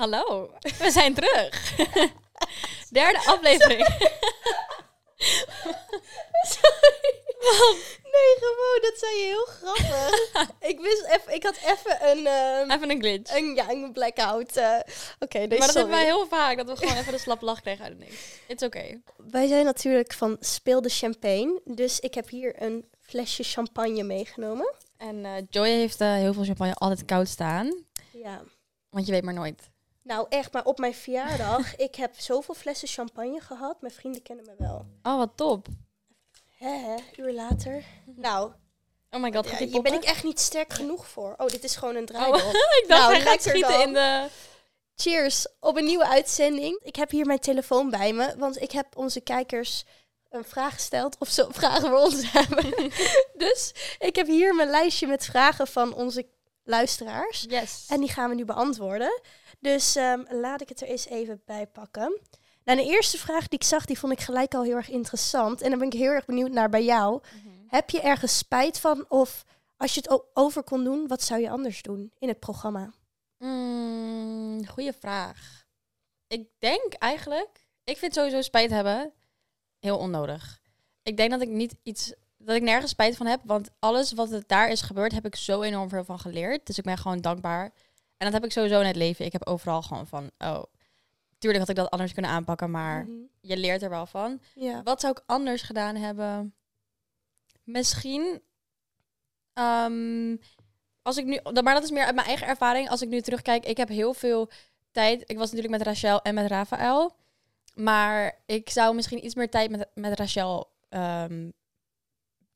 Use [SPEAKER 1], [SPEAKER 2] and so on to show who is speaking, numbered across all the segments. [SPEAKER 1] Hallo, we zijn terug. Derde aflevering.
[SPEAKER 2] Sorry. Nee, gewoon, dat zei je heel grappig. ik wist even, ik had even een, ehm,
[SPEAKER 1] Even een glitch.
[SPEAKER 2] een, ja, een blackout. eh. Oké, nee,
[SPEAKER 1] maar dat
[SPEAKER 2] sorry.
[SPEAKER 1] hebben wij heel vaak, dat we gewoon even de slap lach kregen uit het niks. It's okay.
[SPEAKER 2] Wij zijn natuurlijk van Speel de Champagne. Dus ik heb hier een flesje champagne meegenomen.
[SPEAKER 1] En eh, Joy heeft eh, heel veel champagne altijd koud staan,
[SPEAKER 2] Ja.
[SPEAKER 1] want je weet maar nooit.
[SPEAKER 2] Nou, echt, maar op mijn verjaardag, ik heb zoveel flessen champagne gehad. Mijn vrienden kennen me wel.
[SPEAKER 1] Oh, wat top.
[SPEAKER 2] Hè, hè, uur later. Nou,
[SPEAKER 1] Oh my god,
[SPEAKER 2] ja,
[SPEAKER 1] gaat die
[SPEAKER 2] hier ben ik
[SPEAKER 1] poppen?
[SPEAKER 2] echt niet sterk genoeg voor. Oh, dit is gewoon een
[SPEAKER 1] Oh,
[SPEAKER 2] draaidop.
[SPEAKER 1] ik dacht,
[SPEAKER 2] Nou,
[SPEAKER 1] hij gaat
[SPEAKER 2] lekker
[SPEAKER 1] schieten
[SPEAKER 2] dan.
[SPEAKER 1] in de...
[SPEAKER 2] Cheers op een nieuwe uitzending. Ik heb hier mijn telefoon bij me, want ik heb onze kijkers een vraag gesteld of ze vragen voor ons hebben. dus ik heb hier mijn lijstje met vragen van onze luisteraars.
[SPEAKER 1] Yes.
[SPEAKER 2] En die gaan we nu beantwoorden. Dus ehm, laat ik het er eens even bij pakken. Nou, de eerste vraag die ik zag, die vond ik gelijk al heel erg interessant. En daar ben ik heel erg benieuwd naar bij jou.
[SPEAKER 1] Mhm.
[SPEAKER 2] Heb je ergens spijt van? Of als je het o- over kon doen, wat zou je anders doen in het programma?
[SPEAKER 1] Mm, goeie vraag. Ik denk eigenlijk, ik vind sowieso spijt hebben heel onnodig. Ik denk dat ik niet iets, dat ik nergens spijt van heb, want alles wat er daar is gebeurd, heb ik zo enorm veel van geleerd. Dus ik ben gewoon dankbaar. En dat heb ik sowieso in het leven. Ik heb overal gewoon van, oh, tuurlijk had ik dat anders kunnen aanpakken, maar
[SPEAKER 2] Mhm.
[SPEAKER 1] je leert er wel van.
[SPEAKER 2] Ja.
[SPEAKER 1] Wat zou ik anders gedaan hebben? Misschien. ehm, als ik nu, dat- maar dat is meer uit mijn eigen ervaring. Als ik nu terugkijk, ik heb heel veel tijd. Ik was natuurlijk met Rachel en met Rafael. Maar ik zou misschien iets meer tijd met, met Rachel ehm,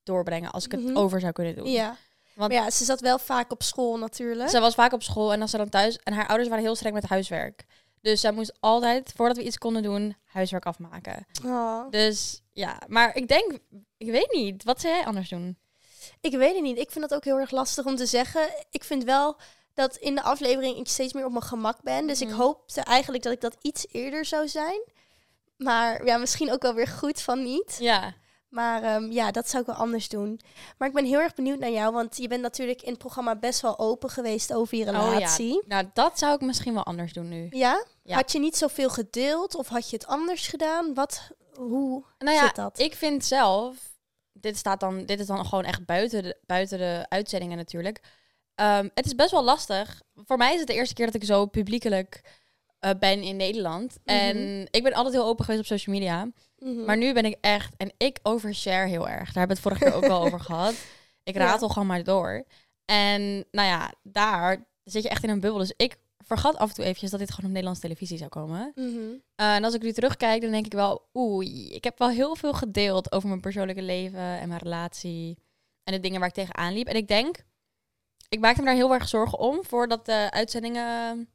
[SPEAKER 1] doorbrengen als ik het
[SPEAKER 2] Mhm.
[SPEAKER 1] over zou kunnen doen.
[SPEAKER 2] Ja.
[SPEAKER 1] Want-
[SPEAKER 2] Maar ja, ze zat wel vaak op school natuurlijk.
[SPEAKER 1] Ze was vaak op school en als ze dan thuis. En haar ouders waren heel streng met huiswerk. Dus zij moest altijd, voordat we iets konden doen, huiswerk afmaken.
[SPEAKER 2] Oh.
[SPEAKER 1] Dus ja, maar ik denk, ik weet niet. Wat zou jij anders doen?
[SPEAKER 2] Ik weet het niet. Ik vind dat ook heel erg lastig om te zeggen. Ik vind wel dat in de aflevering ik steeds meer op mijn gemak ben. Dus
[SPEAKER 1] Mhm.
[SPEAKER 2] ik hoopte eigenlijk dat ik dat iets eerder zou zijn. Maar ja, misschien ook wel weer goed van niet.
[SPEAKER 1] Ja.
[SPEAKER 2] Maar ehm, ja, dat zou ik wel anders doen. Maar ik ben heel erg benieuwd naar jou. Want je bent natuurlijk in het programma best wel open geweest over je relatie.
[SPEAKER 1] Nou, dat zou ik misschien wel anders doen nu.
[SPEAKER 2] ja.
[SPEAKER 1] Ja.
[SPEAKER 2] Had je niet zoveel gedeeld? Of had je het anders gedaan? Wat, hoe
[SPEAKER 1] Nou ja,
[SPEAKER 2] zit dat?
[SPEAKER 1] ik vind zelf, dit, staat dan, dit is dan gewoon echt buiten de, buiten de uitzendingen natuurlijk. Ehm, het is best wel lastig. Voor mij is het de eerste keer dat ik zo publiekelijk eh, ben in Nederland. En ik ben altijd heel open geweest op social media.
[SPEAKER 2] Mhm.
[SPEAKER 1] Maar nu ben ik echt, en ik overshare heel erg. Daar hebben we het vorige keer ook al over gehad. Ik
[SPEAKER 2] Ja.
[SPEAKER 1] ratel gewoon maar door. En nou ja, daar zit je echt in een bubbel. Dus ik vergat af en toe eventjes dat dit gewoon op Nederlandse televisie zou komen.
[SPEAKER 2] Mhm.
[SPEAKER 1] Eh, en als ik nu terugkijk, dan denk ik wel, oei, ik heb wel heel veel gedeeld over mijn persoonlijke leven en mijn relatie. En de dingen waar ik tegenaan liep. En ik denk, ik maakte me daar heel erg zorgen om voordat de uitzendingen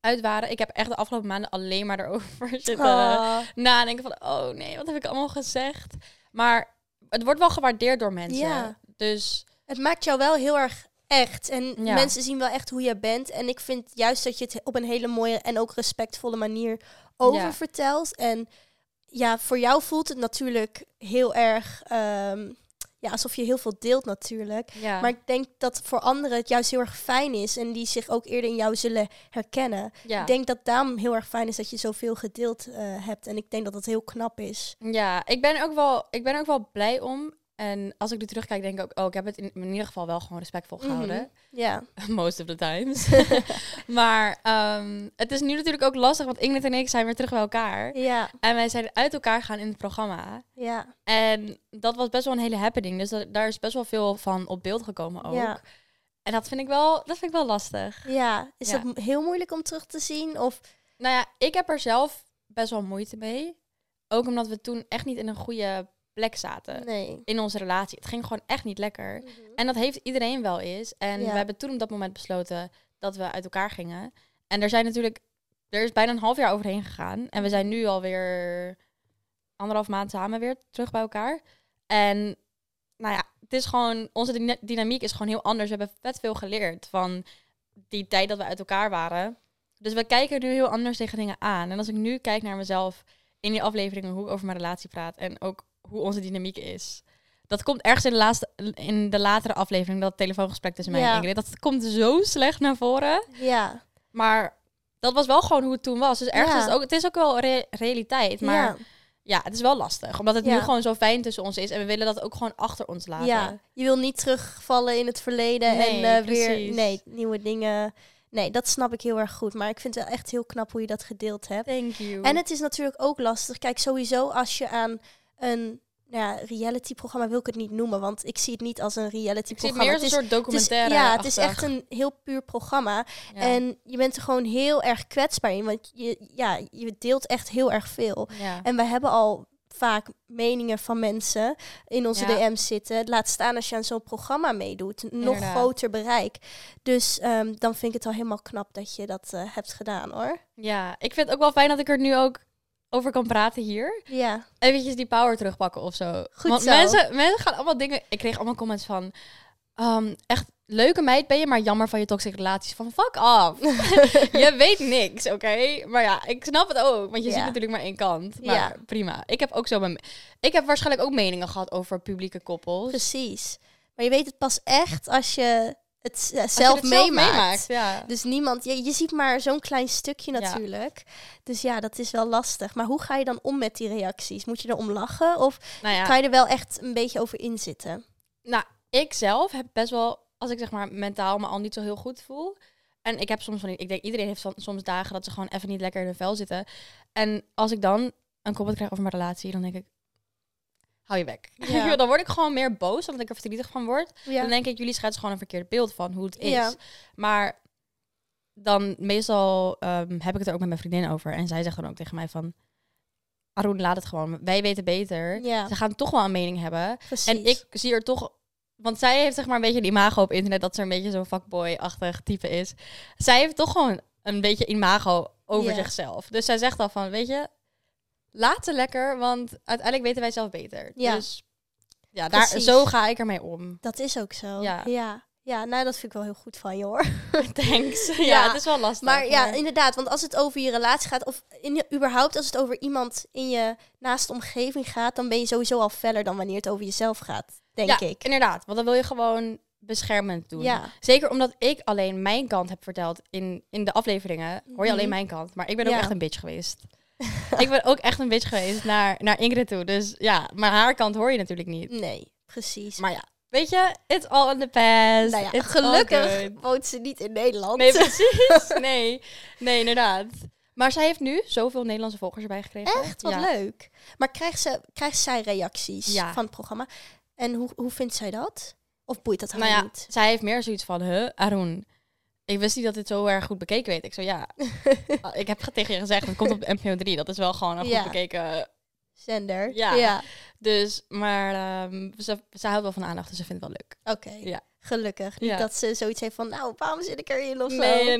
[SPEAKER 1] uit waren. Ik heb echt de afgelopen maanden alleen maar erover zitten eh.
[SPEAKER 2] Ah.
[SPEAKER 1] nadenken van, oh nee, wat heb ik allemaal gezegd? Maar het wordt wel gewaardeerd door mensen.
[SPEAKER 2] Ja.
[SPEAKER 1] Dus
[SPEAKER 2] Het maakt jou wel heel erg echt. En
[SPEAKER 1] Ja.
[SPEAKER 2] mensen zien wel echt hoe je bent. En ik vind juist dat je het op een hele mooie en ook respectvolle manier oververtelt. En ja, voor jou voelt het natuurlijk heel erg... ehm, ja, alsof je heel veel deelt natuurlijk.
[SPEAKER 1] ja,
[SPEAKER 2] Maar ik denk dat voor anderen het juist heel erg fijn is. En die zich ook eerder in jou zullen herkennen.
[SPEAKER 1] ja.
[SPEAKER 2] Ik denk dat daarom heel erg fijn is dat je zoveel gedeeld eh, hebt. En ik denk dat dat heel knap is.
[SPEAKER 1] ja ik, ben ook wel, ik ben ook wel blij om. En als ik nu terugkijk, denk ik ook, oh, ik heb het in, in ieder geval wel gewoon respectvol
[SPEAKER 2] Mhm.
[SPEAKER 1] gehouden.
[SPEAKER 2] Ja.
[SPEAKER 1] Most of the times. maar ehm, het is nu natuurlijk ook lastig, want Ingrid en ik zijn weer terug bij elkaar.
[SPEAKER 2] Ja.
[SPEAKER 1] En wij zijn uit elkaar gegaan in het programma.
[SPEAKER 2] Ja.
[SPEAKER 1] En dat was best wel een hele happening. Dus da- daar is best wel veel van op beeld gekomen ook.
[SPEAKER 2] Ja.
[SPEAKER 1] En dat vind ik wel, dat vind ik wel lastig.
[SPEAKER 2] Ja, is
[SPEAKER 1] Ja.
[SPEAKER 2] dat m- heel moeilijk om terug te zien? Of
[SPEAKER 1] Nou ja, ik heb er zelf best wel moeite mee. Ook omdat we toen echt niet in een goede plek zaten
[SPEAKER 2] nee?
[SPEAKER 1] in onze relatie. Het ging gewoon echt niet lekker. En dat heeft iedereen wel eens. En
[SPEAKER 2] Ja.
[SPEAKER 1] we hebben toen op dat moment besloten dat we uit elkaar gingen. En er zijn natuurlijk, er is bijna een half jaar overheen gegaan. En we zijn nu alweer anderhalf maand samen weer terug bij elkaar. En nou ja, het is gewoon, onze dyna- dynamiek is gewoon heel anders. We hebben vet veel geleerd van die tijd dat we uit elkaar waren. Dus we kijken nu heel anders tegen dingen aan. En als ik nu kijk naar mezelf in die afleveringen, hoe ik over mijn relatie praat en ook hoe onze dynamiek is. Dat komt ergens in de, laatste, in de latere aflevering, dat telefoongesprek tussen mij en
[SPEAKER 2] Ja.
[SPEAKER 1] Ingrid. Dat komt zo slecht naar voren.
[SPEAKER 2] Ja,
[SPEAKER 1] Maar dat was wel gewoon hoe het toen was. Dus ergens
[SPEAKER 2] Ja.
[SPEAKER 1] is het ook, het is ook wel re- realiteit. Maar ja. het is wel lastig. Omdat het nu
[SPEAKER 2] Ja.
[SPEAKER 1] gewoon zo fijn tussen ons is. En we willen dat ook gewoon achter ons laten.
[SPEAKER 2] Ja, je wil niet terugvallen in het verleden
[SPEAKER 1] Nee,
[SPEAKER 2] en eh, weer
[SPEAKER 1] precies.
[SPEAKER 2] nee, nieuwe dingen. Nee, dat snap ik heel erg goed. Maar ik vind het wel echt heel knap hoe je dat gedeeld hebt.
[SPEAKER 1] Thank you.
[SPEAKER 2] En het is natuurlijk ook lastig. Kijk, sowieso als je aan een nou ja, reality-programma wil ik het niet noemen, want ik zie het niet als een
[SPEAKER 1] ik zie het
[SPEAKER 2] reality-programma.
[SPEAKER 1] meer als een
[SPEAKER 2] Het is-
[SPEAKER 1] soort
[SPEAKER 2] het is-
[SPEAKER 1] documentaire.
[SPEAKER 2] ja, het is echt een heel puur programma. En je bent er gewoon heel erg kwetsbaar in, want je, ja, je deelt echt heel erg veel.
[SPEAKER 1] ja.
[SPEAKER 2] En we hebben al vaak meningen van mensen in onze
[SPEAKER 1] Ja.
[SPEAKER 2] DM's zitten. Laat staan als je aan zo'n programma meedoet. Nog
[SPEAKER 1] Inderdaad.
[SPEAKER 2] groter bereik. Dus ehm, dan vind ik het al helemaal knap dat je dat eh, hebt gedaan hoor.
[SPEAKER 1] ja, ik vind het ook wel fijn dat ik er nu ook over kan praten hier.
[SPEAKER 2] Ja,
[SPEAKER 1] eventjes die power terugpakken of zo.
[SPEAKER 2] Goed
[SPEAKER 1] Want
[SPEAKER 2] zo.
[SPEAKER 1] Mensen, mensen gaan allemaal dingen... Ik kreeg allemaal comments van... ehm, echt leuke meid ben je, maar jammer van je toxische relaties. Van fuck af. je weet niks, oké? Maar ja, ik snap het ook. Want je
[SPEAKER 2] Ja.
[SPEAKER 1] ziet natuurlijk maar één kant. Maar
[SPEAKER 2] Ja.
[SPEAKER 1] prima. Ik heb ook zo mijn... Ik heb waarschijnlijk ook meningen gehad over publieke koppels.
[SPEAKER 2] precies. Maar je weet het pas echt als je het z- zelf,
[SPEAKER 1] Als je het
[SPEAKER 2] meemaakt.
[SPEAKER 1] ja.
[SPEAKER 2] Dus niemand, je, je ziet maar zo'n klein stukje
[SPEAKER 1] Ja.
[SPEAKER 2] natuurlijk. Dus ja, dat is wel lastig. Maar hoe ga je dan om met die reacties? Moet je erom lachen of
[SPEAKER 1] Nou ja,
[SPEAKER 2] kan je er wel echt een beetje over inzitten?
[SPEAKER 1] Nou, ik zelf heb best wel, als ik zeg maar mentaal me al niet zo heel goed voel. En ik heb soms van, die- ik denk iedereen heeft van- soms dagen dat ze gewoon even niet lekker in hun vel zitten. En als ik dan een comment krijg over mijn relatie, dan denk ik, hou je weg.
[SPEAKER 2] Ja.
[SPEAKER 1] Weet je wel, dan word ik gewoon meer boos, omdat ik er verdrietig van word.
[SPEAKER 2] Ja.
[SPEAKER 1] Dan denk ik, jullie schetsen gewoon een verkeerd beeld van hoe het is.
[SPEAKER 2] Ja.
[SPEAKER 1] Maar dan meestal ehm, heb ik het er ook met mijn vriendin over. En zij zegt dan ook tegen mij van, Arun, laat het gewoon. Wij weten beter.
[SPEAKER 2] Ja,
[SPEAKER 1] Ze gaan toch wel een mening hebben.
[SPEAKER 2] precies.
[SPEAKER 1] En ik zie er toch... Want zij heeft zeg maar een beetje een imago op internet... dat ze een beetje zo'n fuckboy-achtig type is. Zij heeft toch gewoon een beetje imago over
[SPEAKER 2] Ja.
[SPEAKER 1] zichzelf. Dus zij zegt al van, weet je... Laat ze lekker, want uiteindelijk weten wij zelf beter.
[SPEAKER 2] Ja.
[SPEAKER 1] Dus ja, daar,
[SPEAKER 2] Precies.
[SPEAKER 1] zo ga ik ermee om.
[SPEAKER 2] Dat is ook zo.
[SPEAKER 1] Ja.
[SPEAKER 2] Ja. ja. nou dat vind ik wel heel goed van je hoor.
[SPEAKER 1] Thanks. Ja,
[SPEAKER 2] Ja.
[SPEAKER 1] het is wel lastig.
[SPEAKER 2] Maar ja, inderdaad, want als het over je relatie gaat, of in, überhaupt als het over iemand in je naaste omgeving gaat, dan ben je sowieso al feller dan wanneer het over jezelf gaat, denk
[SPEAKER 1] Ja,
[SPEAKER 2] ik.
[SPEAKER 1] inderdaad. Want dan wil je gewoon beschermend doen.
[SPEAKER 2] Ja,
[SPEAKER 1] Zeker omdat ik alleen mijn kant heb verteld in, in de afleveringen, hoor je alleen mijn kant. Maar ik ben ook
[SPEAKER 2] Mhm. Ja.
[SPEAKER 1] echt een bitch geweest. ik ben ook echt een bitch geweest naar, naar Ingrid toe. Dus ja, maar haar kant hoor je natuurlijk niet.
[SPEAKER 2] nee, precies.
[SPEAKER 1] Maar dus ja, weet je, it's all in the past.
[SPEAKER 2] nou ja,
[SPEAKER 1] It's all
[SPEAKER 2] gelukkig
[SPEAKER 1] good.
[SPEAKER 2] woont ze niet in Nederland.
[SPEAKER 1] Nee, precies. Nee. nee, inderdaad. Maar zij heeft nu zoveel Nederlandse volgers erbij gekregen.
[SPEAKER 2] Echt, wat
[SPEAKER 1] ja.
[SPEAKER 2] leuk. Maar krijgt, ze, krijgt zij reacties
[SPEAKER 1] Ja.
[SPEAKER 2] van het programma? En hoe, hoe vindt zij dat? Of boeit dat haar
[SPEAKER 1] Nou ja,
[SPEAKER 2] niet?
[SPEAKER 1] zij heeft meer zoiets van, huh, Arun, ik wist niet dat dit zo erg goed bekeken werd. Ik zo, ja, ik heb tegen je gezegd, het komt op NPO 3. Dat is wel gewoon een
[SPEAKER 2] Ja.
[SPEAKER 1] goed bekeken
[SPEAKER 2] Zender?
[SPEAKER 1] Ja.
[SPEAKER 2] ja.
[SPEAKER 1] Dus, maar ehm, ze, ze houdt wel van aandacht, dus ze vindt het wel leuk.
[SPEAKER 2] Oké,
[SPEAKER 1] Ja.
[SPEAKER 2] gelukkig. Niet
[SPEAKER 1] Ja.
[SPEAKER 2] dat ze zoiets heeft van, nou, waarom zit ik erin of zo? Oké,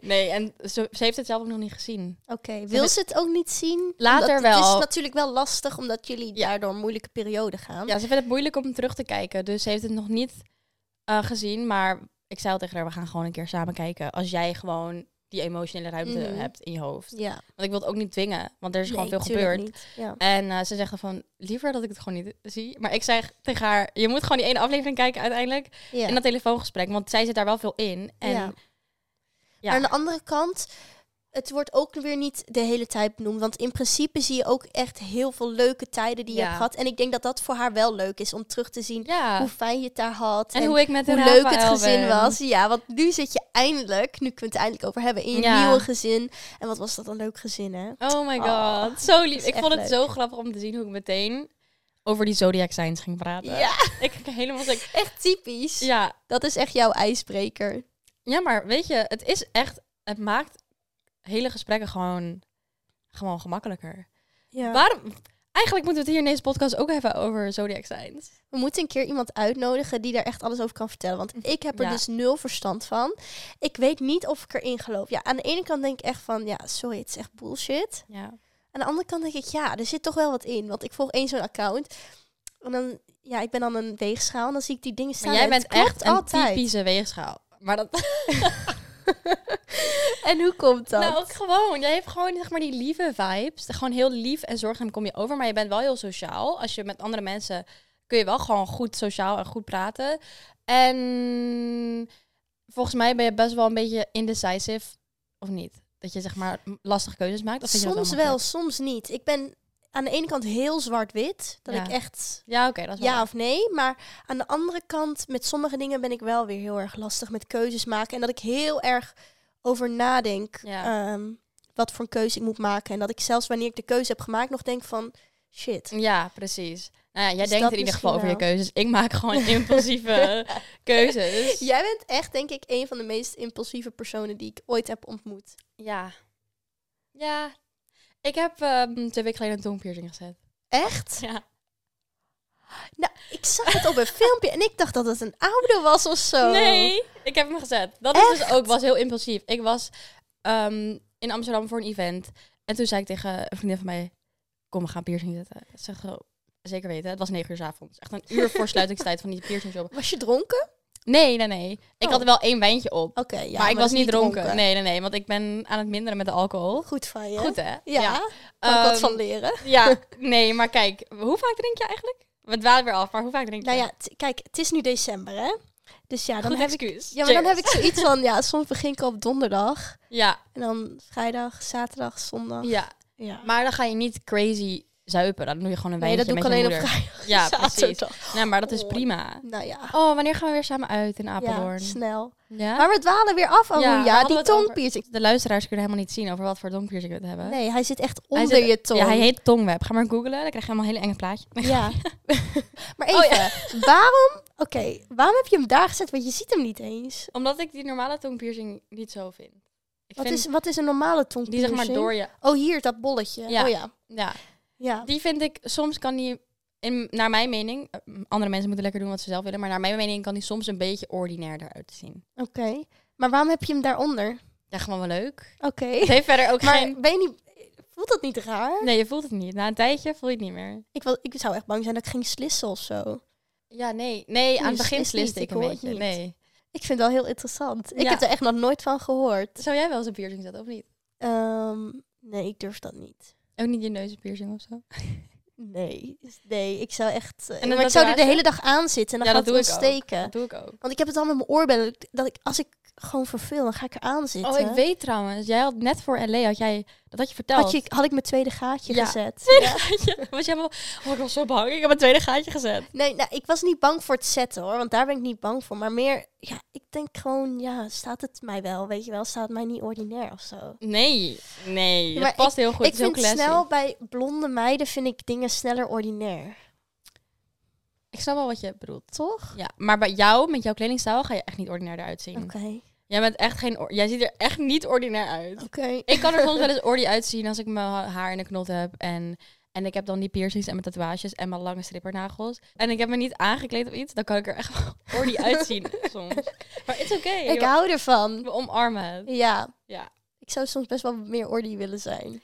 [SPEAKER 1] nee. En ze, ze heeft het zelf ook nog niet gezien.
[SPEAKER 2] Oké,
[SPEAKER 1] wil-
[SPEAKER 2] wil ze het ook niet zien?
[SPEAKER 1] Later
[SPEAKER 2] Omdat Het
[SPEAKER 1] wel.
[SPEAKER 2] is natuurlijk wel lastig, omdat jullie
[SPEAKER 1] Ja.
[SPEAKER 2] daardoor een moeilijke periode gaan.
[SPEAKER 1] Ja, ze vindt het moeilijk om terug te kijken, dus ze heeft het nog niet eh, gezien. Maar ik zei al tegen haar, we gaan gewoon een keer samen kijken. Als jij gewoon die emotionele ruimte
[SPEAKER 2] Mhm.
[SPEAKER 1] hebt in je hoofd.
[SPEAKER 2] ja.
[SPEAKER 1] Want ik wil het ook niet dwingen, want er is gewoon veel
[SPEAKER 2] Nee, tuurlijk
[SPEAKER 1] gebeurd.
[SPEAKER 2] niet. Ja.
[SPEAKER 1] En eh, ze zegt dan van, liever dat ik het gewoon niet zie. Maar ik zeg tegen haar, je moet gewoon die ene aflevering kijken uiteindelijk.
[SPEAKER 2] Ja.
[SPEAKER 1] In dat telefoongesprek, want zij zit daar wel veel in. En
[SPEAKER 2] Ja.
[SPEAKER 1] ja.
[SPEAKER 2] Maar aan de andere kant, het wordt ook weer niet de hele tijd benoemd. Want in principe zie je ook echt heel veel leuke tijden die je
[SPEAKER 1] Ja.
[SPEAKER 2] hebt gehad. En ik denk dat dat voor haar wel leuk is om terug te zien
[SPEAKER 1] ja.
[SPEAKER 2] hoe fijn je het daar had.
[SPEAKER 1] En, hoe ik met
[SPEAKER 2] hoe
[SPEAKER 1] een
[SPEAKER 2] leuk het
[SPEAKER 1] Rafael
[SPEAKER 2] gezin
[SPEAKER 1] ben.
[SPEAKER 2] was. Ja, want nu zit je eindelijk, nu kunnen we het eindelijk over hebben, in je
[SPEAKER 1] Ja.
[SPEAKER 2] nieuwe gezin. En wat was dat een leuk gezin, hè?
[SPEAKER 1] Oh my god,
[SPEAKER 2] Oh,
[SPEAKER 1] zo lief.
[SPEAKER 2] is
[SPEAKER 1] Ik
[SPEAKER 2] echt
[SPEAKER 1] vond het
[SPEAKER 2] leuk.
[SPEAKER 1] zo grappig om te zien hoe ik meteen over die zodiac signs ging praten.
[SPEAKER 2] Ja,
[SPEAKER 1] Ik ging helemaal zeg.
[SPEAKER 2] echt typisch.
[SPEAKER 1] Ja.
[SPEAKER 2] Dat is echt jouw ijsbreker.
[SPEAKER 1] ja, maar weet je, het is echt, het maakt hele gesprekken gewoon, gewoon gemakkelijker.
[SPEAKER 2] Ja.
[SPEAKER 1] Waarom? Eigenlijk moeten we het hier in deze podcast ook hebben over zodiac signs.
[SPEAKER 2] We moeten een keer iemand uitnodigen die daar echt alles over kan vertellen. Want ik heb er
[SPEAKER 1] Mhm. Ja.
[SPEAKER 2] dus nul verstand van. Ik weet niet of ik erin geloof. Ja, aan de ene kant denk ik echt van, ja, sorry, het is echt bullshit.
[SPEAKER 1] Ja.
[SPEAKER 2] Aan de andere kant denk ik, ja, er zit toch wel wat in. Want ik volg één zo'n account. En dan, ja, ik ben dan een weegschaal en dan zie ik die dingen staan.
[SPEAKER 1] Maar jij
[SPEAKER 2] en het
[SPEAKER 1] bent echt
[SPEAKER 2] klopt
[SPEAKER 1] een
[SPEAKER 2] altijd.
[SPEAKER 1] typische weegschaal. Maar dat,
[SPEAKER 2] En hoe komt dat?
[SPEAKER 1] nou ook gewoon. Jij hebt gewoon zeg maar die lieve vibes. Gewoon heel lief en zorgzaam kom je over. Maar je bent wel heel sociaal. Als je met andere mensen kun je wel gewoon goed sociaal en goed praten. En volgens mij ben je best wel een beetje indecisive. Of niet? dat je zeg maar m- lastige keuzes maakt? Of vind je dat
[SPEAKER 2] soms wel,
[SPEAKER 1] makkelijk?
[SPEAKER 2] soms niet. Ik ben aan de ene kant heel zwart-wit. Dat
[SPEAKER 1] Ja.
[SPEAKER 2] ik echt
[SPEAKER 1] Ja, oké, dat is wel
[SPEAKER 2] ja
[SPEAKER 1] waar.
[SPEAKER 2] of nee. Maar aan de andere kant, met sommige dingen ben ik wel weer heel erg lastig met keuzes maken. En dat ik heel erg over nadenk
[SPEAKER 1] Ja.
[SPEAKER 2] ehm, wat voor een keuze ik moet maken. En dat ik zelfs wanneer ik de keuze heb gemaakt nog denk van... Shit,
[SPEAKER 1] Ja, precies. Nou ja, jij
[SPEAKER 2] Dus
[SPEAKER 1] denkt
[SPEAKER 2] dat
[SPEAKER 1] in ieder geval over
[SPEAKER 2] misschien
[SPEAKER 1] je keuzes. Ik maak gewoon impulsieve keuzes.
[SPEAKER 2] Jij bent echt, denk ik, een van de meest impulsieve personen die ik ooit heb ontmoet.
[SPEAKER 1] Ja. Ja. Ik heb ehm, twee weken geleden een tongpiercing gezet.
[SPEAKER 2] Echt?
[SPEAKER 1] Ja.
[SPEAKER 2] Nou, ik zag het op een filmpje en ik dacht dat het een oude was of zo.
[SPEAKER 1] Nee, ik heb hem gezet. Dat is dus ook, was heel impulsief. Ik was ehm, in Amsterdam voor een event. En toen zei ik tegen een vriendin van mij, kom we gaan piercing zetten. Ze zegt zo, zeker weten, het was negen uur 's avonds. Echt een uur voor sluitingstijd van die piercing shop.
[SPEAKER 2] Was je dronken?
[SPEAKER 1] Nee, nee, nee. Ik
[SPEAKER 2] Oh.
[SPEAKER 1] had er wel één wijntje op.
[SPEAKER 2] Oké, ja.
[SPEAKER 1] Oh. maar ik
[SPEAKER 2] dat
[SPEAKER 1] was
[SPEAKER 2] is
[SPEAKER 1] niet dronken. Nee, nee, nee. Want ik ben aan het minderen met de alcohol.
[SPEAKER 2] Goed van je.
[SPEAKER 1] Goed, hè?
[SPEAKER 2] Ja, kan ik wat
[SPEAKER 1] Ehm,
[SPEAKER 2] van leren.
[SPEAKER 1] Ja, nee, maar kijk, hoe vaak drink je eigenlijk? We dwalen weer af, maar hoe vaak drink je?
[SPEAKER 2] Nou ja, t- kijk, het is nu december, hè? Dus ja, dan
[SPEAKER 1] Goed
[SPEAKER 2] heb ik...
[SPEAKER 1] excuus.
[SPEAKER 2] Ja, maar dan heb
[SPEAKER 1] Cheers.
[SPEAKER 2] ik zoiets van, ja, soms begin ik op donderdag.
[SPEAKER 1] Ja,
[SPEAKER 2] En dan vrijdag, zaterdag, zondag.
[SPEAKER 1] ja,
[SPEAKER 2] Ja.
[SPEAKER 1] maar dan ga je niet crazy zuipen. Dan doe je gewoon een
[SPEAKER 2] Nee,
[SPEAKER 1] wijntje
[SPEAKER 2] dat doe
[SPEAKER 1] met
[SPEAKER 2] ik
[SPEAKER 1] je
[SPEAKER 2] alleen op
[SPEAKER 1] moeder.
[SPEAKER 2] vrijdag,
[SPEAKER 1] Ja, precies.
[SPEAKER 2] zaterdag.
[SPEAKER 1] Nee, maar dat is
[SPEAKER 2] Oh.
[SPEAKER 1] prima.
[SPEAKER 2] Nou ja,
[SPEAKER 1] Oh, wanneer gaan we weer samen uit in
[SPEAKER 2] ja
[SPEAKER 1] Apeldoorn?
[SPEAKER 2] snel.
[SPEAKER 1] Ja?
[SPEAKER 2] Maar we dwalen weer af, Amoe.
[SPEAKER 1] Ja,
[SPEAKER 2] Ja,
[SPEAKER 1] we hadden
[SPEAKER 2] die
[SPEAKER 1] het over-
[SPEAKER 2] tongpiercing.
[SPEAKER 1] De luisteraars kunnen helemaal niet zien over wat voor tongpiercing we het hebben.
[SPEAKER 2] Nee, hij zit echt
[SPEAKER 1] Hij
[SPEAKER 2] onder
[SPEAKER 1] zit-
[SPEAKER 2] je tong.
[SPEAKER 1] Ja, hij heet tongweb. Ga maar googlen, dan krijg je helemaal een hele enge plaatje.
[SPEAKER 2] Ja. maar even,
[SPEAKER 1] Oh,
[SPEAKER 2] waarom... Oké, waarom heb je hem daar gezet? Want je ziet hem niet eens.
[SPEAKER 1] Omdat ik die normale tongpiercing niet zo vind. Ik
[SPEAKER 2] Wat,
[SPEAKER 1] vind
[SPEAKER 2] is, wat is een normale tongpiercing?
[SPEAKER 1] die zeg maar door je...
[SPEAKER 2] Oh, hier, dat bolletje.
[SPEAKER 1] Ja.
[SPEAKER 2] Oh ja.
[SPEAKER 1] Ja,
[SPEAKER 2] Ja.
[SPEAKER 1] Die vind ik, soms kan die, in, naar mijn mening, eh, andere mensen moeten lekker doen wat ze zelf willen, maar naar mijn mening kan die soms een beetje ordinairder uitzien.
[SPEAKER 2] Oké. Maar waarom heb je hem daaronder?
[SPEAKER 1] Ja, gewoon wel leuk.
[SPEAKER 2] Oké.
[SPEAKER 1] Het heeft verder ook
[SPEAKER 2] Maar
[SPEAKER 1] geen...
[SPEAKER 2] ben je niet... Voelt dat niet raar?
[SPEAKER 1] Nee, je voelt het niet. Na een tijdje voel je het niet meer.
[SPEAKER 2] Ik, wel, ik zou echt bang zijn dat ik ging slissen of zo.
[SPEAKER 1] Ja, nee. Nee, aan het begin
[SPEAKER 2] beslist
[SPEAKER 1] sliste ik
[SPEAKER 2] niet, ik
[SPEAKER 1] een
[SPEAKER 2] hoor het
[SPEAKER 1] beetje.
[SPEAKER 2] niet.
[SPEAKER 1] Nee.
[SPEAKER 2] Ik vind het wel heel interessant. Ik
[SPEAKER 1] Ja.
[SPEAKER 2] heb er echt nog nooit van gehoord.
[SPEAKER 1] Zou jij wel eens een piercing zetten of niet?
[SPEAKER 2] Ehm, nee, ik durf dat niet.
[SPEAKER 1] Ook niet je neuspiercing of zo?
[SPEAKER 2] Nee. Nee, ik zou echt... eh,
[SPEAKER 1] een
[SPEAKER 2] maar ik zou er
[SPEAKER 1] tatoeage?
[SPEAKER 2] de hele dag aan zitten en dan
[SPEAKER 1] Ja,
[SPEAKER 2] gaat
[SPEAKER 1] dat
[SPEAKER 2] het
[SPEAKER 1] doe ik ook.
[SPEAKER 2] ontsteken.
[SPEAKER 1] Dat doe ik ook.
[SPEAKER 2] Want ik heb het al met mijn oorbellen. Dat ik, als ik gewoon verveel, dan ga ik eraan zitten.
[SPEAKER 1] Oh, ik weet trouwens. Jij had net voor LA, had jij, dat had je verteld.
[SPEAKER 2] Had, je, had ik mijn tweede gaatje
[SPEAKER 1] Ja.
[SPEAKER 2] gezet?
[SPEAKER 1] Tweede
[SPEAKER 2] Ja.
[SPEAKER 1] gaatje. Was jij wel... Oh, ik was zo bang. Ik heb een tweede gaatje gezet.
[SPEAKER 2] Nee, nou, ik was niet bang voor het zetten hoor. Want daar ben ik niet bang voor. Maar meer, ja, ik denk gewoon, ja, staat het mij wel? Weet je wel, staat het mij niet ordinair of zo?
[SPEAKER 1] Nee. Nee.
[SPEAKER 2] maar
[SPEAKER 1] dat past heel goed. het
[SPEAKER 2] ik
[SPEAKER 1] is heel
[SPEAKER 2] vind
[SPEAKER 1] classy.
[SPEAKER 2] snel bij blonde meiden vind ik dingen sneller ordinair.
[SPEAKER 1] Ik snap wel wat je bedoelt.
[SPEAKER 2] Toch?
[SPEAKER 1] Ja, maar bij jou, met jouw kledingstijl, ga je echt niet ordinair eruit zien.
[SPEAKER 2] Oké.
[SPEAKER 1] Jij, bent echt geen, or- jij ziet er echt niet ordinair uit.
[SPEAKER 2] Oké.
[SPEAKER 1] Ik kan er soms wel eens ordy uitzien als ik mijn ha- haar in de knot heb. En, en ik heb dan die piercings en mijn tatoeages en mijn lange strippernagels. En ik heb me niet aangekleed of iets. Dan kan ik er echt wel ordy uitzien soms. Maar het is oké.
[SPEAKER 2] Ik
[SPEAKER 1] joh.
[SPEAKER 2] hou ervan.
[SPEAKER 1] We omarmen het.
[SPEAKER 2] Ja.
[SPEAKER 1] Ja.
[SPEAKER 2] Ik zou soms best wel meer ordy willen zijn.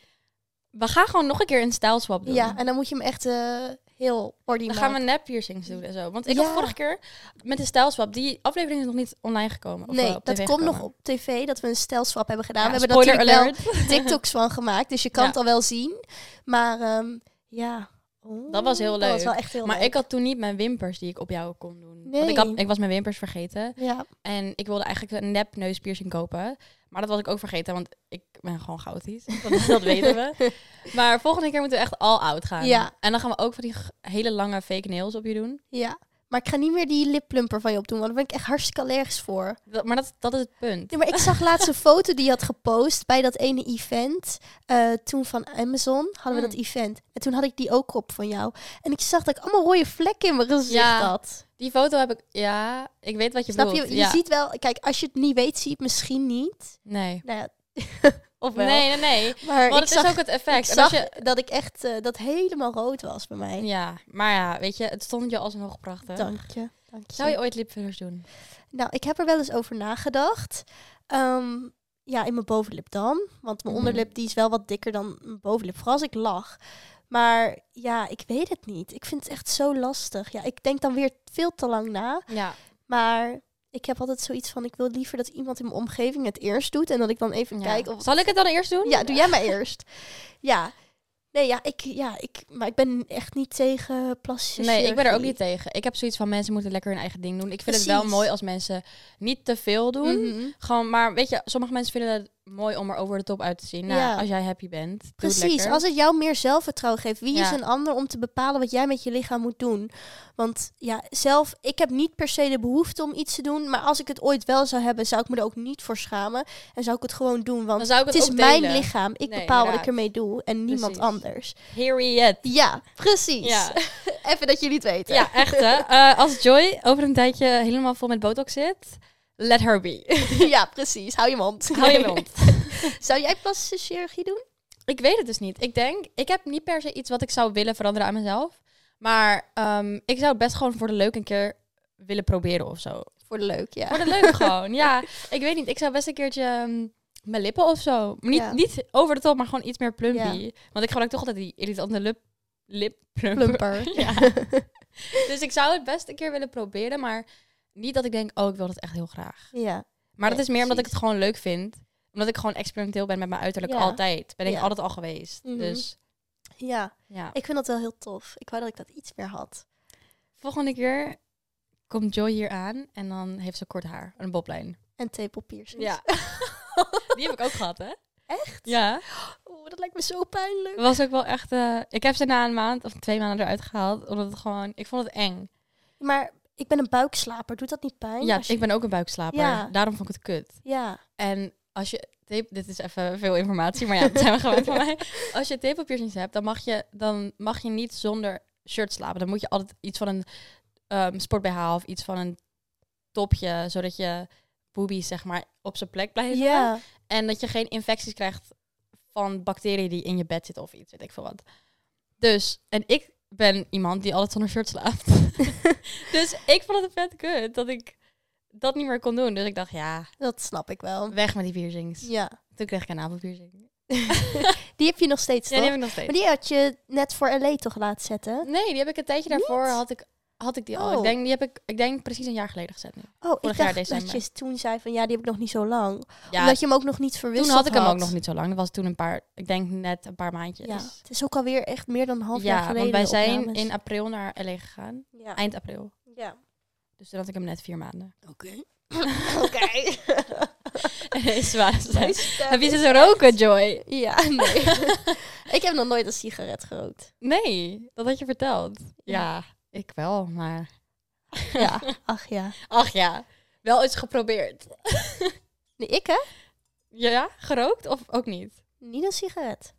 [SPEAKER 1] We gaan gewoon nog een keer een stijlswap doen.
[SPEAKER 2] Ja, en dan moet je hem echt eh, heel ordy
[SPEAKER 1] Dan
[SPEAKER 2] maken.
[SPEAKER 1] gaan we nep piercings doen en zo. Want ik
[SPEAKER 2] Ja.
[SPEAKER 1] had vorige keer met de stijlswap, die aflevering is nog niet online gekomen. Of
[SPEAKER 2] Nee,
[SPEAKER 1] wel op
[SPEAKER 2] dat
[SPEAKER 1] tv
[SPEAKER 2] komt nog
[SPEAKER 1] gekomen.
[SPEAKER 2] op tv, dat we een stelswap hebben
[SPEAKER 1] Ja,
[SPEAKER 2] gedaan. we hebben
[SPEAKER 1] spoiler
[SPEAKER 2] natuurlijk
[SPEAKER 1] alert.
[SPEAKER 2] wel TikToks van gemaakt, dus je kan
[SPEAKER 1] Ja.
[SPEAKER 2] het al wel zien. Maar ehm, ja. Oh,
[SPEAKER 1] Dat was heel
[SPEAKER 2] Dat was
[SPEAKER 1] leuk.
[SPEAKER 2] wel echt heel
[SPEAKER 1] Maar
[SPEAKER 2] leuk.
[SPEAKER 1] ik had toen niet mijn wimpers die ik op jou kon doen. Want
[SPEAKER 2] Nee.
[SPEAKER 1] ik, had, ik was mijn wimpers vergeten.
[SPEAKER 2] Ja,
[SPEAKER 1] En ik wilde eigenlijk een nep neuspiercing kopen. Maar dat was ik ook vergeten, want ik ben gewoon chaotisch. Dat, dat weten we. Maar volgende keer moeten we echt all out gaan.
[SPEAKER 2] Ja.
[SPEAKER 1] En dan gaan we ook van die g- hele lange fake nails op je doen.
[SPEAKER 2] ja. Maar ik ga niet meer die lipplumper van je opdoen, want daar ben ik echt hartstikke allergisch voor.
[SPEAKER 1] Dat- maar dat, dat is het punt.
[SPEAKER 2] Nee, maar ik zag laatst een foto die je had gepost bij dat ene event. eh, toen van Amazon hadden we
[SPEAKER 1] Mm.
[SPEAKER 2] dat event. En toen had ik die ook op van jou. En ik zag dat ik allemaal rode vlekken in mijn gezicht
[SPEAKER 1] Ja.
[SPEAKER 2] had.
[SPEAKER 1] Die foto heb ik... Ja, ik weet wat je
[SPEAKER 2] Snap je?
[SPEAKER 1] bedoelt.
[SPEAKER 2] Je
[SPEAKER 1] ja.
[SPEAKER 2] ziet wel, kijk, als je het niet weet, zie je het misschien niet.
[SPEAKER 1] Nee.
[SPEAKER 2] Nou ja,
[SPEAKER 1] Of
[SPEAKER 2] wel.
[SPEAKER 1] Nee, nee, nee.
[SPEAKER 2] maar
[SPEAKER 1] Want
[SPEAKER 2] ik
[SPEAKER 1] het
[SPEAKER 2] zag
[SPEAKER 1] is ook het effect.
[SPEAKER 2] Ik
[SPEAKER 1] En als
[SPEAKER 2] zag
[SPEAKER 1] je,
[SPEAKER 2] dat ik echt eh, dat helemaal rood was bij mij.
[SPEAKER 1] ja, maar ja, weet je, het stond je alsnog prachtig.
[SPEAKER 2] Dank je. Dank je.
[SPEAKER 1] Zou je ooit lipfillers doen?
[SPEAKER 2] Nou, ik heb er wel eens over nagedacht. Ehm, ja, in mijn bovenlip dan. Want mijn
[SPEAKER 1] Mhm.
[SPEAKER 2] onderlip die is wel wat dikker dan mijn bovenlip. Vooral als ik lach. Maar ja, ik weet het niet. Ik vind het echt zo lastig. Ja, ik denk dan weer veel te lang na.
[SPEAKER 1] Ja.
[SPEAKER 2] Maar ik heb altijd zoiets van... ik wil liever dat iemand in mijn omgeving het eerst doet... en dat ik dan even
[SPEAKER 1] Ja.
[SPEAKER 2] kijk of
[SPEAKER 1] Zal ik het dan eerst doen?
[SPEAKER 2] Ja, doe jij maar eerst. Ja. Nee, ja, ik, ja, ik, maar ik ben echt niet tegen plastische
[SPEAKER 1] Nee, ik ben er ook
[SPEAKER 2] chirurgie.
[SPEAKER 1] niet tegen. Ik heb zoiets van mensen moeten lekker hun eigen ding doen. Ik vind het wel
[SPEAKER 2] Precies.
[SPEAKER 1] mooi als mensen niet te veel doen.
[SPEAKER 2] Mhm.
[SPEAKER 1] Gewoon, maar weet je, sommige mensen vinden mooi om er over de top uit te zien. Nou,
[SPEAKER 2] Ja.
[SPEAKER 1] als jij happy bent. doe het
[SPEAKER 2] Precies,
[SPEAKER 1] lekker.
[SPEAKER 2] als het jou meer zelfvertrouwen geeft. Wie is
[SPEAKER 1] Ja.
[SPEAKER 2] een ander om te bepalen wat jij met je lichaam moet doen? Want ja, zelf, ik heb niet per se de behoefte om iets te doen. Maar als ik het ooit wel zou hebben, zou ik me er ook niet voor schamen. En zou ik het gewoon doen. Want
[SPEAKER 1] Dan zou ik
[SPEAKER 2] het
[SPEAKER 1] het,
[SPEAKER 2] is
[SPEAKER 1] ook
[SPEAKER 2] mijn
[SPEAKER 1] delen.
[SPEAKER 2] lichaam. Ik
[SPEAKER 1] Nee,
[SPEAKER 2] bepaal wat
[SPEAKER 1] inderdaad.
[SPEAKER 2] ik ermee doe en niemand
[SPEAKER 1] Precies.
[SPEAKER 2] anders.
[SPEAKER 1] Period.
[SPEAKER 2] Ja, precies.
[SPEAKER 1] Ja,
[SPEAKER 2] Even dat jullie het weten.
[SPEAKER 1] ja echt hè. Eh, als Joy over een tijdje helemaal vol met botox zit, let her be.
[SPEAKER 2] Ja, precies. Hou je mond.
[SPEAKER 1] Hou je mond.
[SPEAKER 2] zou jij plastische chirurgie doen?
[SPEAKER 1] Ik weet het dus niet. Ik denk, ik heb niet per se iets wat ik zou willen veranderen aan mezelf. Maar ehm, ik zou het best gewoon voor de leuk een keer willen proberen of zo.
[SPEAKER 2] Voor de leuk, ja.
[SPEAKER 1] Voor de leuk gewoon, ja. Ik weet niet, ik zou best een keertje ehm, mijn lippen of zo. Maar niet,
[SPEAKER 2] Ja.
[SPEAKER 1] niet over de top, maar gewoon iets meer plumpy. Want ik gebruik toch altijd die irritante lip, lip plumper.
[SPEAKER 2] Plumper.
[SPEAKER 1] Ja. dus ik zou het best een keer willen proberen, maar niet dat ik denk, oh, ik wil dat echt heel graag.
[SPEAKER 2] Ja.
[SPEAKER 1] Maar
[SPEAKER 2] Nee,
[SPEAKER 1] dat is meer omdat ik
[SPEAKER 2] precies.
[SPEAKER 1] het gewoon leuk vind. Omdat ik gewoon experimenteel ben met mijn uiterlijk
[SPEAKER 2] Ja.
[SPEAKER 1] altijd. Ben ik
[SPEAKER 2] Ja.
[SPEAKER 1] altijd al geweest.
[SPEAKER 2] Mhm.
[SPEAKER 1] Dus
[SPEAKER 2] ja,
[SPEAKER 1] ja.
[SPEAKER 2] ik vind dat wel heel tof. Ik wou dat ik dat iets meer had.
[SPEAKER 1] Volgende keer komt Joy hier aan en dan heeft ze kort haar. Een boblijn.
[SPEAKER 2] En tepelpiercings.
[SPEAKER 1] Die heb ik ook gehad, hè?
[SPEAKER 2] Echt?
[SPEAKER 1] Ja.
[SPEAKER 2] Oeh, dat lijkt me zo pijnlijk.
[SPEAKER 1] was ook wel echt... eh, ik heb ze na een maand of twee maanden eruit gehaald. Omdat het gewoon... Ik vond het eng.
[SPEAKER 2] Maar ik ben een buikslaper. Doet dat niet pijn?
[SPEAKER 1] Ja,
[SPEAKER 2] Als je-
[SPEAKER 1] ik ben ook een buikslaper.
[SPEAKER 2] Ja.
[SPEAKER 1] Daarom vond ik het kut.
[SPEAKER 2] Ja.
[SPEAKER 1] En als je... tape- Dit is even veel informatie, maar ja, het zijn we gewend van mij. Als je tepelpiercings hebt, dan mag je, dan mag je niet zonder shirt slapen. Dan moet je altijd iets van een ehm sport BH of iets van een topje, zodat je boobies zeg maar op zijn plek blijven.
[SPEAKER 2] Ja.
[SPEAKER 1] En dat je geen infecties krijgt van bacteriën die in je bed zitten of iets, weet ik veel wat. Dus, en ik ben iemand die altijd zonder shirt slaapt. dus ik vond het vet kut dat ik dat niet meer kon doen. Dus ik dacht, ja,
[SPEAKER 2] Dat snap ik wel.
[SPEAKER 1] weg met die piercings.
[SPEAKER 2] Ja.
[SPEAKER 1] Toen kreeg ik een navelpiercing.
[SPEAKER 2] Die heb je nog steeds,
[SPEAKER 1] Ja,
[SPEAKER 2] toch?
[SPEAKER 1] die heb ik nog steeds.
[SPEAKER 2] Maar die had je net voor LA toch laten zetten?
[SPEAKER 1] Nee, die heb ik een tijdje daarvoor
[SPEAKER 2] Niet?
[SPEAKER 1] had ik, had ik die al.
[SPEAKER 2] Oh.
[SPEAKER 1] Ik denk, die heb ik, ik denk precies een jaar geleden gezet nu.
[SPEAKER 2] Oh,
[SPEAKER 1] Vorig
[SPEAKER 2] ik
[SPEAKER 1] jaar
[SPEAKER 2] dacht
[SPEAKER 1] december.
[SPEAKER 2] dat je toen zei van ja, die heb ik nog niet zo lang.
[SPEAKER 1] Ja,
[SPEAKER 2] Omdat je hem ook nog niet
[SPEAKER 1] toen
[SPEAKER 2] verwisseld
[SPEAKER 1] had ik hem ook nog niet zo lang. Dat was toen een paar, ik denk net een paar maandjes. Dus
[SPEAKER 2] Ja. Het is ook alweer echt meer dan een half jaar
[SPEAKER 1] Ja,
[SPEAKER 2] geleden.
[SPEAKER 1] want wij
[SPEAKER 2] de
[SPEAKER 1] zijn
[SPEAKER 2] opnames.
[SPEAKER 1] in april naar LA gegaan.
[SPEAKER 2] Ja.
[SPEAKER 1] Eind april.
[SPEAKER 2] Ja.
[SPEAKER 1] Dus toen had ik hem net vier maanden.
[SPEAKER 2] Oké. Oké.
[SPEAKER 1] Nee, zwaar.
[SPEAKER 2] Mijn stem
[SPEAKER 1] Heb je
[SPEAKER 2] is
[SPEAKER 1] zitten roken, Joy?
[SPEAKER 2] Ja, nee. ik heb nog nooit een sigaret gerookt.
[SPEAKER 1] Nee, dat had je verteld. Ja, ik wel, maar...
[SPEAKER 2] Ja. Ach ja.
[SPEAKER 1] Ach ja, wel eens geprobeerd.
[SPEAKER 2] Nee, ik hè?
[SPEAKER 1] Ja, gerookt of ook niet?
[SPEAKER 2] Niet een sigaret.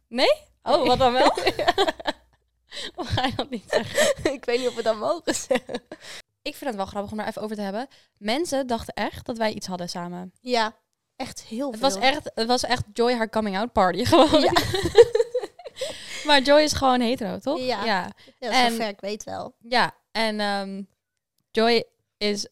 [SPEAKER 1] Oh, wat dan wel? Hoe ga je dat niet zeggen?
[SPEAKER 2] ik weet niet of we dat mogen zeggen.
[SPEAKER 1] Ik vind het wel grappig om daar even over te hebben. Mensen dachten echt dat wij iets hadden samen.
[SPEAKER 2] Ja. Echt heel
[SPEAKER 1] Het
[SPEAKER 2] veel.
[SPEAKER 1] was echt, het was echt Joy haar coming out party gewoon.
[SPEAKER 2] Ja.
[SPEAKER 1] maar Joy is gewoon hetero, toch?
[SPEAKER 2] Ja.
[SPEAKER 1] ja.
[SPEAKER 2] Ja,
[SPEAKER 1] en-
[SPEAKER 2] zover ik weet wel.
[SPEAKER 1] Ja, en ehm, Joy is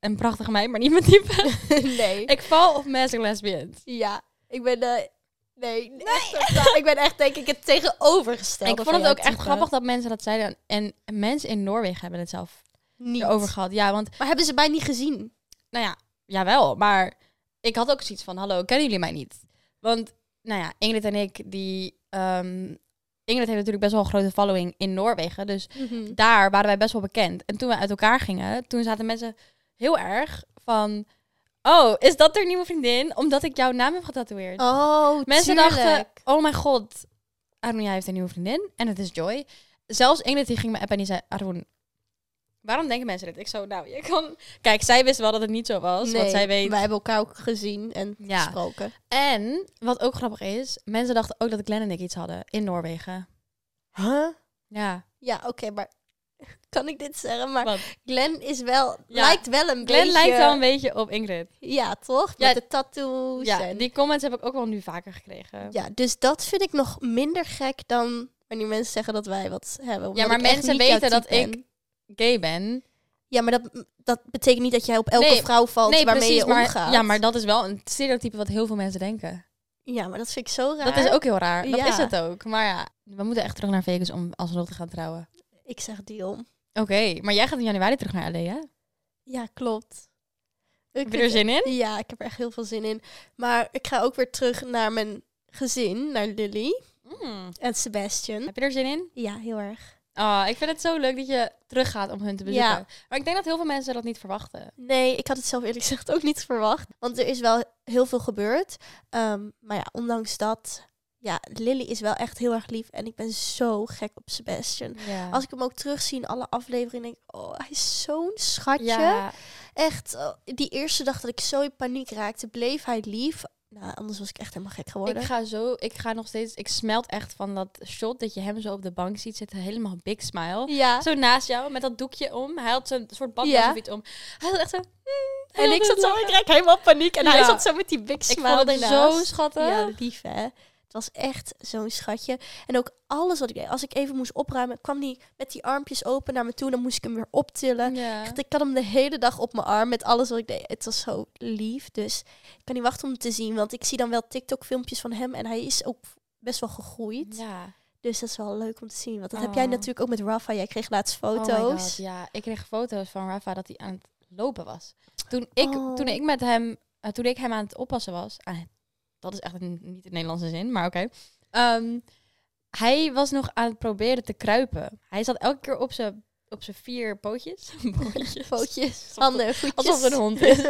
[SPEAKER 1] een prachtige meid, maar niet mijn type.
[SPEAKER 2] nee.
[SPEAKER 1] ik val op mensen lesbians.
[SPEAKER 2] Ja. Ik ben... eh, nee. echt totaal- ik ben echt denk ik het tegenovergestelde
[SPEAKER 1] ik vond
[SPEAKER 2] van
[SPEAKER 1] het
[SPEAKER 2] jouw
[SPEAKER 1] ook echt
[SPEAKER 2] type.
[SPEAKER 1] grappig dat mensen dat zeiden. En, en mensen in Noorwegen hebben het zelf
[SPEAKER 2] Niet.
[SPEAKER 1] erover gehad. Ja, want,
[SPEAKER 2] Maar hebben ze mij niet gezien?
[SPEAKER 1] nou ja, jawel. Maar ik had ook zoiets van, hallo, kennen jullie mij niet? Want, nou ja, Ingrid en ik, die... ehm, Ingrid heeft natuurlijk best wel een grote following in Noorwegen. Dus
[SPEAKER 2] Mhm.
[SPEAKER 1] daar waren wij best wel bekend. En toen we uit elkaar gingen, toen zaten mensen heel erg van... Oh, is dat haar nieuwe vriendin? Omdat ik jouw naam heb getatoeëerd.
[SPEAKER 2] Oh,
[SPEAKER 1] mensen
[SPEAKER 2] tuurlijk.
[SPEAKER 1] dachten, oh mijn god, Arun, heeft een nieuwe vriendin. En het is Joy. Zelfs Ingrid die ging me appen en die zei, Arun, waarom denken mensen dit? Ik zo, nou, je kan... Kijk, zij wist wel dat het niet zo was, want zij weet...
[SPEAKER 2] wij hebben elkaar ook gezien en
[SPEAKER 1] Ja.
[SPEAKER 2] gesproken.
[SPEAKER 1] En, wat ook grappig is, mensen dachten ook dat Glenn en ik iets hadden in Noorwegen.
[SPEAKER 2] Huh?
[SPEAKER 1] Ja.
[SPEAKER 2] Ja, oké, maar kan ik dit zeggen? Maar
[SPEAKER 1] Wat?
[SPEAKER 2] Glenn is wel,
[SPEAKER 1] Ja,
[SPEAKER 2] lijkt wel een
[SPEAKER 1] Glenn
[SPEAKER 2] beetje...
[SPEAKER 1] lijkt wel een beetje op Ingrid.
[SPEAKER 2] Ja, toch?
[SPEAKER 1] Ja,
[SPEAKER 2] Met de tattoos
[SPEAKER 1] Ja,
[SPEAKER 2] en...
[SPEAKER 1] die comments heb ik ook wel nu vaker gekregen.
[SPEAKER 2] Ja, dus dat vind ik nog minder gek dan wanneer mensen zeggen dat wij wat hebben. omdat
[SPEAKER 1] maar
[SPEAKER 2] ik echt
[SPEAKER 1] mensen
[SPEAKER 2] niet jouw
[SPEAKER 1] weten dat
[SPEAKER 2] type ben.
[SPEAKER 1] ik- gay ben.
[SPEAKER 2] Ja, maar dat, dat betekent niet dat jij op elke
[SPEAKER 1] Nee,
[SPEAKER 2] vrouw valt waarmee je
[SPEAKER 1] maar,
[SPEAKER 2] omgaat.
[SPEAKER 1] Ja, maar dat is wel een stereotype wat heel veel mensen denken.
[SPEAKER 2] ja, maar dat vind ik zo raar.
[SPEAKER 1] Dat is ook heel raar. Dat
[SPEAKER 2] Ja.
[SPEAKER 1] is het ook. Maar ja, we moeten echt terug naar Vegas om alsnog te gaan trouwen.
[SPEAKER 2] Ik zeg deal.
[SPEAKER 1] Oké, maar jij gaat in januari terug naar LA, hè?
[SPEAKER 2] Ja, klopt. Ik
[SPEAKER 1] Heb je er
[SPEAKER 2] vind-
[SPEAKER 1] zin in?
[SPEAKER 2] Ja, ik heb er echt heel veel zin in. Maar ik ga ook weer terug naar mijn gezin, naar Lily
[SPEAKER 1] Mm.
[SPEAKER 2] en Sebastian.
[SPEAKER 1] Heb je er zin in?
[SPEAKER 2] Ja, heel
[SPEAKER 1] Oké,
[SPEAKER 2] erg.
[SPEAKER 1] Ah, ik vind het zo leuk dat je teruggaat om hun te bezoeken.
[SPEAKER 2] Ja.
[SPEAKER 1] Maar ik denk dat heel veel mensen dat niet verwachten.
[SPEAKER 2] Nee, ik had het zelf eerlijk gezegd ook niet verwacht. Want er is wel heel veel gebeurd. Ehm, maar ja, ondanks dat... Ja, Lily is wel echt heel erg lief. En ik ben zo gek op Sebastian.
[SPEAKER 1] Ja.
[SPEAKER 2] Als ik hem ook terugzie in alle afleveringen, denk ik... Oh, hij is zo'n schatje.
[SPEAKER 1] ja.
[SPEAKER 2] Echt, oh, die eerste dag dat ik zo in paniek raakte, bleef hij lief. Nou, anders was ik echt helemaal gek geworden.
[SPEAKER 1] Ik ga zo, ik ga nog steeds, ik smelt echt van dat shot dat je hem zo op de bank ziet zitten, helemaal big smile.
[SPEAKER 2] Ja.
[SPEAKER 1] Zo naast jou, met dat doekje om. Hij had zo'n soort badjas
[SPEAKER 2] Ja.
[SPEAKER 1] of iets om. Hij had echt zo... mm,
[SPEAKER 2] En
[SPEAKER 1] heel
[SPEAKER 2] ik zat
[SPEAKER 1] goed
[SPEAKER 2] zo,
[SPEAKER 1] lachen.
[SPEAKER 2] ik raak helemaal in paniek. En hij
[SPEAKER 1] Ja.
[SPEAKER 2] zat zo met die big
[SPEAKER 1] Ik
[SPEAKER 2] smile
[SPEAKER 1] vond het
[SPEAKER 2] ernaast.
[SPEAKER 1] zo schattig.
[SPEAKER 2] Ja, lief hè. Het was echt zo'n schatje. En ook alles wat ik deed. Als ik even moest opruimen, kwam hij met die armpjes open naar me toe. Dan moest ik hem weer optillen.
[SPEAKER 1] Ja.
[SPEAKER 2] Echt, ik had hem de hele dag op mijn arm met alles wat ik deed. Het was zo lief. Dus ik kan niet wachten om hem te zien. Want ik zie dan wel TikTok-filmpjes van hem. En hij is ook best wel gegroeid.
[SPEAKER 1] Ja.
[SPEAKER 2] Dus dat is wel leuk om te zien. Want dat heb jij
[SPEAKER 1] Oh.
[SPEAKER 2] natuurlijk ook met Rafa. Jij kreeg laatst
[SPEAKER 1] Oh my
[SPEAKER 2] foto's.
[SPEAKER 1] God, ja, ik kreeg foto's van Rafa dat hij aan het lopen was. Toen ik,
[SPEAKER 2] Oh.
[SPEAKER 1] toen ik met hem, eh, toen ik hem aan het oppassen was, ah, dat is echt een, niet de Nederlandse zin, maar oké. Ehm, hij was nog aan het proberen te kruipen. Hij zat elke keer op zijn op zijn vier pootjes. Pootjes.
[SPEAKER 2] Pootjes, handen, voetjes.
[SPEAKER 1] Alsof het een hond is.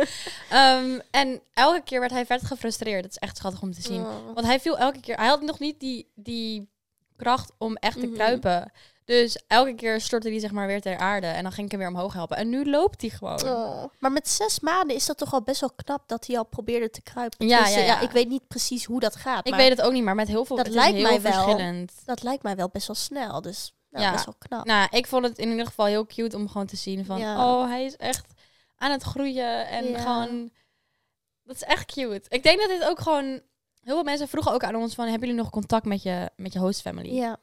[SPEAKER 1] Ehm, en elke keer werd hij vet gefrustreerd. Dat is echt schattig om te zien.
[SPEAKER 2] Oh.
[SPEAKER 1] Want hij viel elke keer. Hij had nog niet die, die kracht om echt te
[SPEAKER 2] Mhm.
[SPEAKER 1] kruipen. Dus elke keer stortte hij zeg maar weer ter aarde. En dan ging ik hem weer omhoog helpen. En nu loopt hij gewoon.
[SPEAKER 2] Oh. Maar met zes maanden is dat toch al best wel knap dat hij al probeerde te kruipen.
[SPEAKER 1] Ja,
[SPEAKER 2] Tenminste,
[SPEAKER 1] ja, ja.
[SPEAKER 2] ik weet niet precies hoe dat gaat.
[SPEAKER 1] ik
[SPEAKER 2] maar
[SPEAKER 1] weet het ook niet, maar met heel veel.
[SPEAKER 2] Dat
[SPEAKER 1] het
[SPEAKER 2] lijkt
[SPEAKER 1] is heel
[SPEAKER 2] mij wel.
[SPEAKER 1] verschillend.
[SPEAKER 2] dat lijkt mij wel best wel snel. Dus nou,
[SPEAKER 1] Ja.
[SPEAKER 2] best wel knap.
[SPEAKER 1] Nou, ik vond het in ieder geval heel cute om gewoon te zien van.
[SPEAKER 2] Ja.
[SPEAKER 1] Oh, hij is echt aan het groeien. En
[SPEAKER 2] Ja.
[SPEAKER 1] gewoon. Dat is echt cute. Ik denk dat dit ook gewoon. Heel veel mensen vroegen ook aan ons van, hebben jullie nog contact met je, met je host family?
[SPEAKER 2] Ja.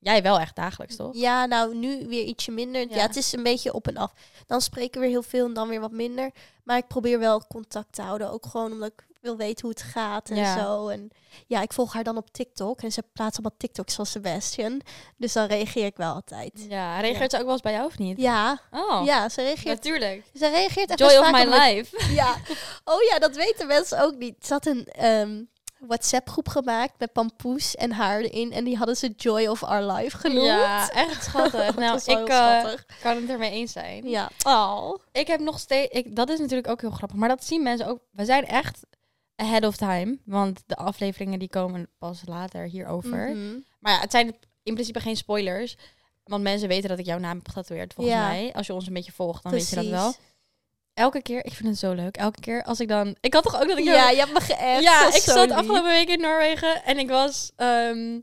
[SPEAKER 1] Jij wel echt dagelijks, toch?
[SPEAKER 2] ja, nou nu weer ietsje minder. Ja.
[SPEAKER 1] Ja.
[SPEAKER 2] het is een beetje op en af. Dan spreken we weer heel veel en dan weer wat minder. Maar ik probeer wel contact te houden. Ook gewoon omdat ik wil weten hoe het gaat en
[SPEAKER 1] Ja.
[SPEAKER 2] zo. En ja, ik volg haar dan op TikTok. En ze plaatst allemaal TikToks van Sebastian. Dus dan reageer ik wel altijd.
[SPEAKER 1] Ja, reageert ze ook wel eens bij jou of niet?
[SPEAKER 2] Ja,
[SPEAKER 1] Oh,
[SPEAKER 2] ja ze reageert.
[SPEAKER 1] natuurlijk.
[SPEAKER 2] Ze reageert echt
[SPEAKER 1] Joy
[SPEAKER 2] best
[SPEAKER 1] of
[SPEAKER 2] vaak
[SPEAKER 1] my
[SPEAKER 2] op mijn-
[SPEAKER 1] life.
[SPEAKER 2] Ja. Oh ja, dat weten mensen ook niet. Ze had een ehm, WhatsApp-groep gemaakt met Pampoes en haar erin. En die hadden ze Joy of Our Life genoemd.
[SPEAKER 1] Ja, echt schattig.
[SPEAKER 2] Dat
[SPEAKER 1] nou,
[SPEAKER 2] was wel
[SPEAKER 1] ik
[SPEAKER 2] heel
[SPEAKER 1] eh,
[SPEAKER 2] schattig.
[SPEAKER 1] kan het ermee eens zijn.
[SPEAKER 2] Ja. Oh.
[SPEAKER 1] Ik heb nog steeds... Ik, dat is natuurlijk ook heel grappig. Maar dat zien mensen ook... We zijn echt ahead of time. Want de afleveringen die komen pas later hierover.
[SPEAKER 2] Mhm.
[SPEAKER 1] Maar ja, het zijn in principe geen spoilers. Want mensen weten dat ik jouw naam heb getatoeëerd, volgens
[SPEAKER 2] Ja.
[SPEAKER 1] mij. Als je ons een beetje volgt, dan weet je dat wel. Elke keer, ik vind het zo leuk. Elke keer als ik dan... Ik had toch ook dat ik jou-
[SPEAKER 2] Ja, je hebt me geappt.
[SPEAKER 1] Ja,
[SPEAKER 2] Dat
[SPEAKER 1] ik
[SPEAKER 2] is zo
[SPEAKER 1] zat
[SPEAKER 2] lief.
[SPEAKER 1] afgelopen week in Noorwegen en ik was. ehm,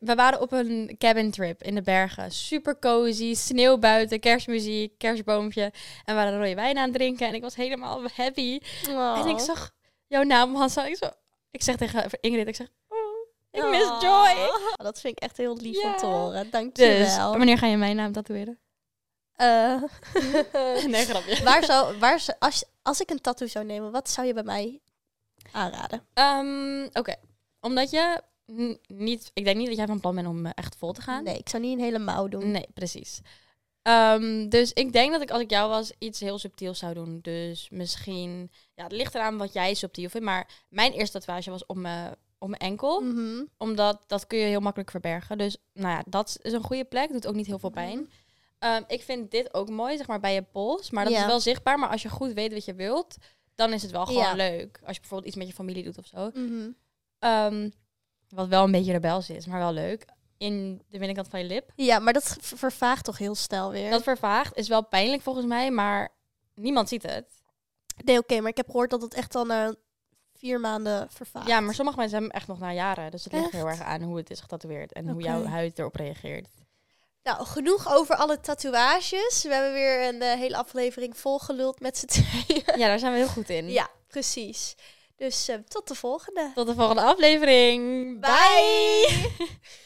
[SPEAKER 1] we waren op een cabin trip in de bergen. Super cozy, sneeuw buiten, kerstmuziek, kerstboompje. En we waren rode wijn aan het drinken en ik was helemaal happy.
[SPEAKER 2] Oh.
[SPEAKER 1] En ik zag jouw naam, Hansa. Ik, zo, ik zeg tegen Ingrid, ik zeg, oh, ik
[SPEAKER 2] Oh.
[SPEAKER 1] mis Joy.
[SPEAKER 2] Oh, Dat vind ik echt heel lief
[SPEAKER 1] Ja.
[SPEAKER 2] om te horen. Dank je
[SPEAKER 1] Dus,
[SPEAKER 2] wel.
[SPEAKER 1] wanneer ga je mijn naam tatoeëren?
[SPEAKER 2] Eh,
[SPEAKER 1] Nee, grapje.
[SPEAKER 2] waar zou, waar zou, als, als ik een tattoo zou nemen, wat zou je bij mij aanraden?
[SPEAKER 1] Ehm, Oké, omdat je n- niet... Ik denk niet dat jij van plan bent om eh, echt vol te gaan.
[SPEAKER 2] Nee, ik zou niet een hele mouw doen.
[SPEAKER 1] Nee, precies. Ehm, dus ik denk dat ik als ik jou was iets heel subtiels zou doen. Dus misschien, ja, het ligt eraan wat jij subtiel vindt. Maar mijn eerste tatoeage was op mijn, op mijn enkel.
[SPEAKER 2] Mhm.
[SPEAKER 1] Omdat dat kun je heel makkelijk verbergen. Dus nou ja, dat is een goede plek. Doet ook niet
[SPEAKER 2] Mm.
[SPEAKER 1] heel veel pijn. Ehm, ik vind dit ook mooi, zeg maar bij je pols. Maar dat
[SPEAKER 2] Ja.
[SPEAKER 1] is wel zichtbaar. Maar als je goed weet wat je wilt, dan is het wel gewoon
[SPEAKER 2] Ja.
[SPEAKER 1] leuk. Als je bijvoorbeeld iets met je familie doet of zo.
[SPEAKER 2] Mhm.
[SPEAKER 1] Ehm, wat wel een beetje rebels is, maar wel leuk. In de binnenkant van je lip.
[SPEAKER 2] Ja, maar dat ver- vervaagt toch heel snel weer.
[SPEAKER 1] Dat vervaagt is wel pijnlijk volgens mij, maar niemand ziet het.
[SPEAKER 2] Nee, oké, maar ik heb gehoord dat het echt al na vier maanden vervaagt.
[SPEAKER 1] Ja, maar sommige mensen hebben hem echt nog na jaren. Dus het ligt heel
[SPEAKER 2] Echt?
[SPEAKER 1] erg aan hoe het is getatoeëerd en hoe
[SPEAKER 2] Oké.
[SPEAKER 1] jouw huid erop reageert.
[SPEAKER 2] Nou, genoeg over alle tatoeages. We hebben weer een eh, hele aflevering volgeluld met z'n tweeën.
[SPEAKER 1] Ja, daar zijn we heel goed in.
[SPEAKER 2] ja, precies. Dus eh, tot de volgende.
[SPEAKER 1] Tot de volgende aflevering.
[SPEAKER 2] Bye.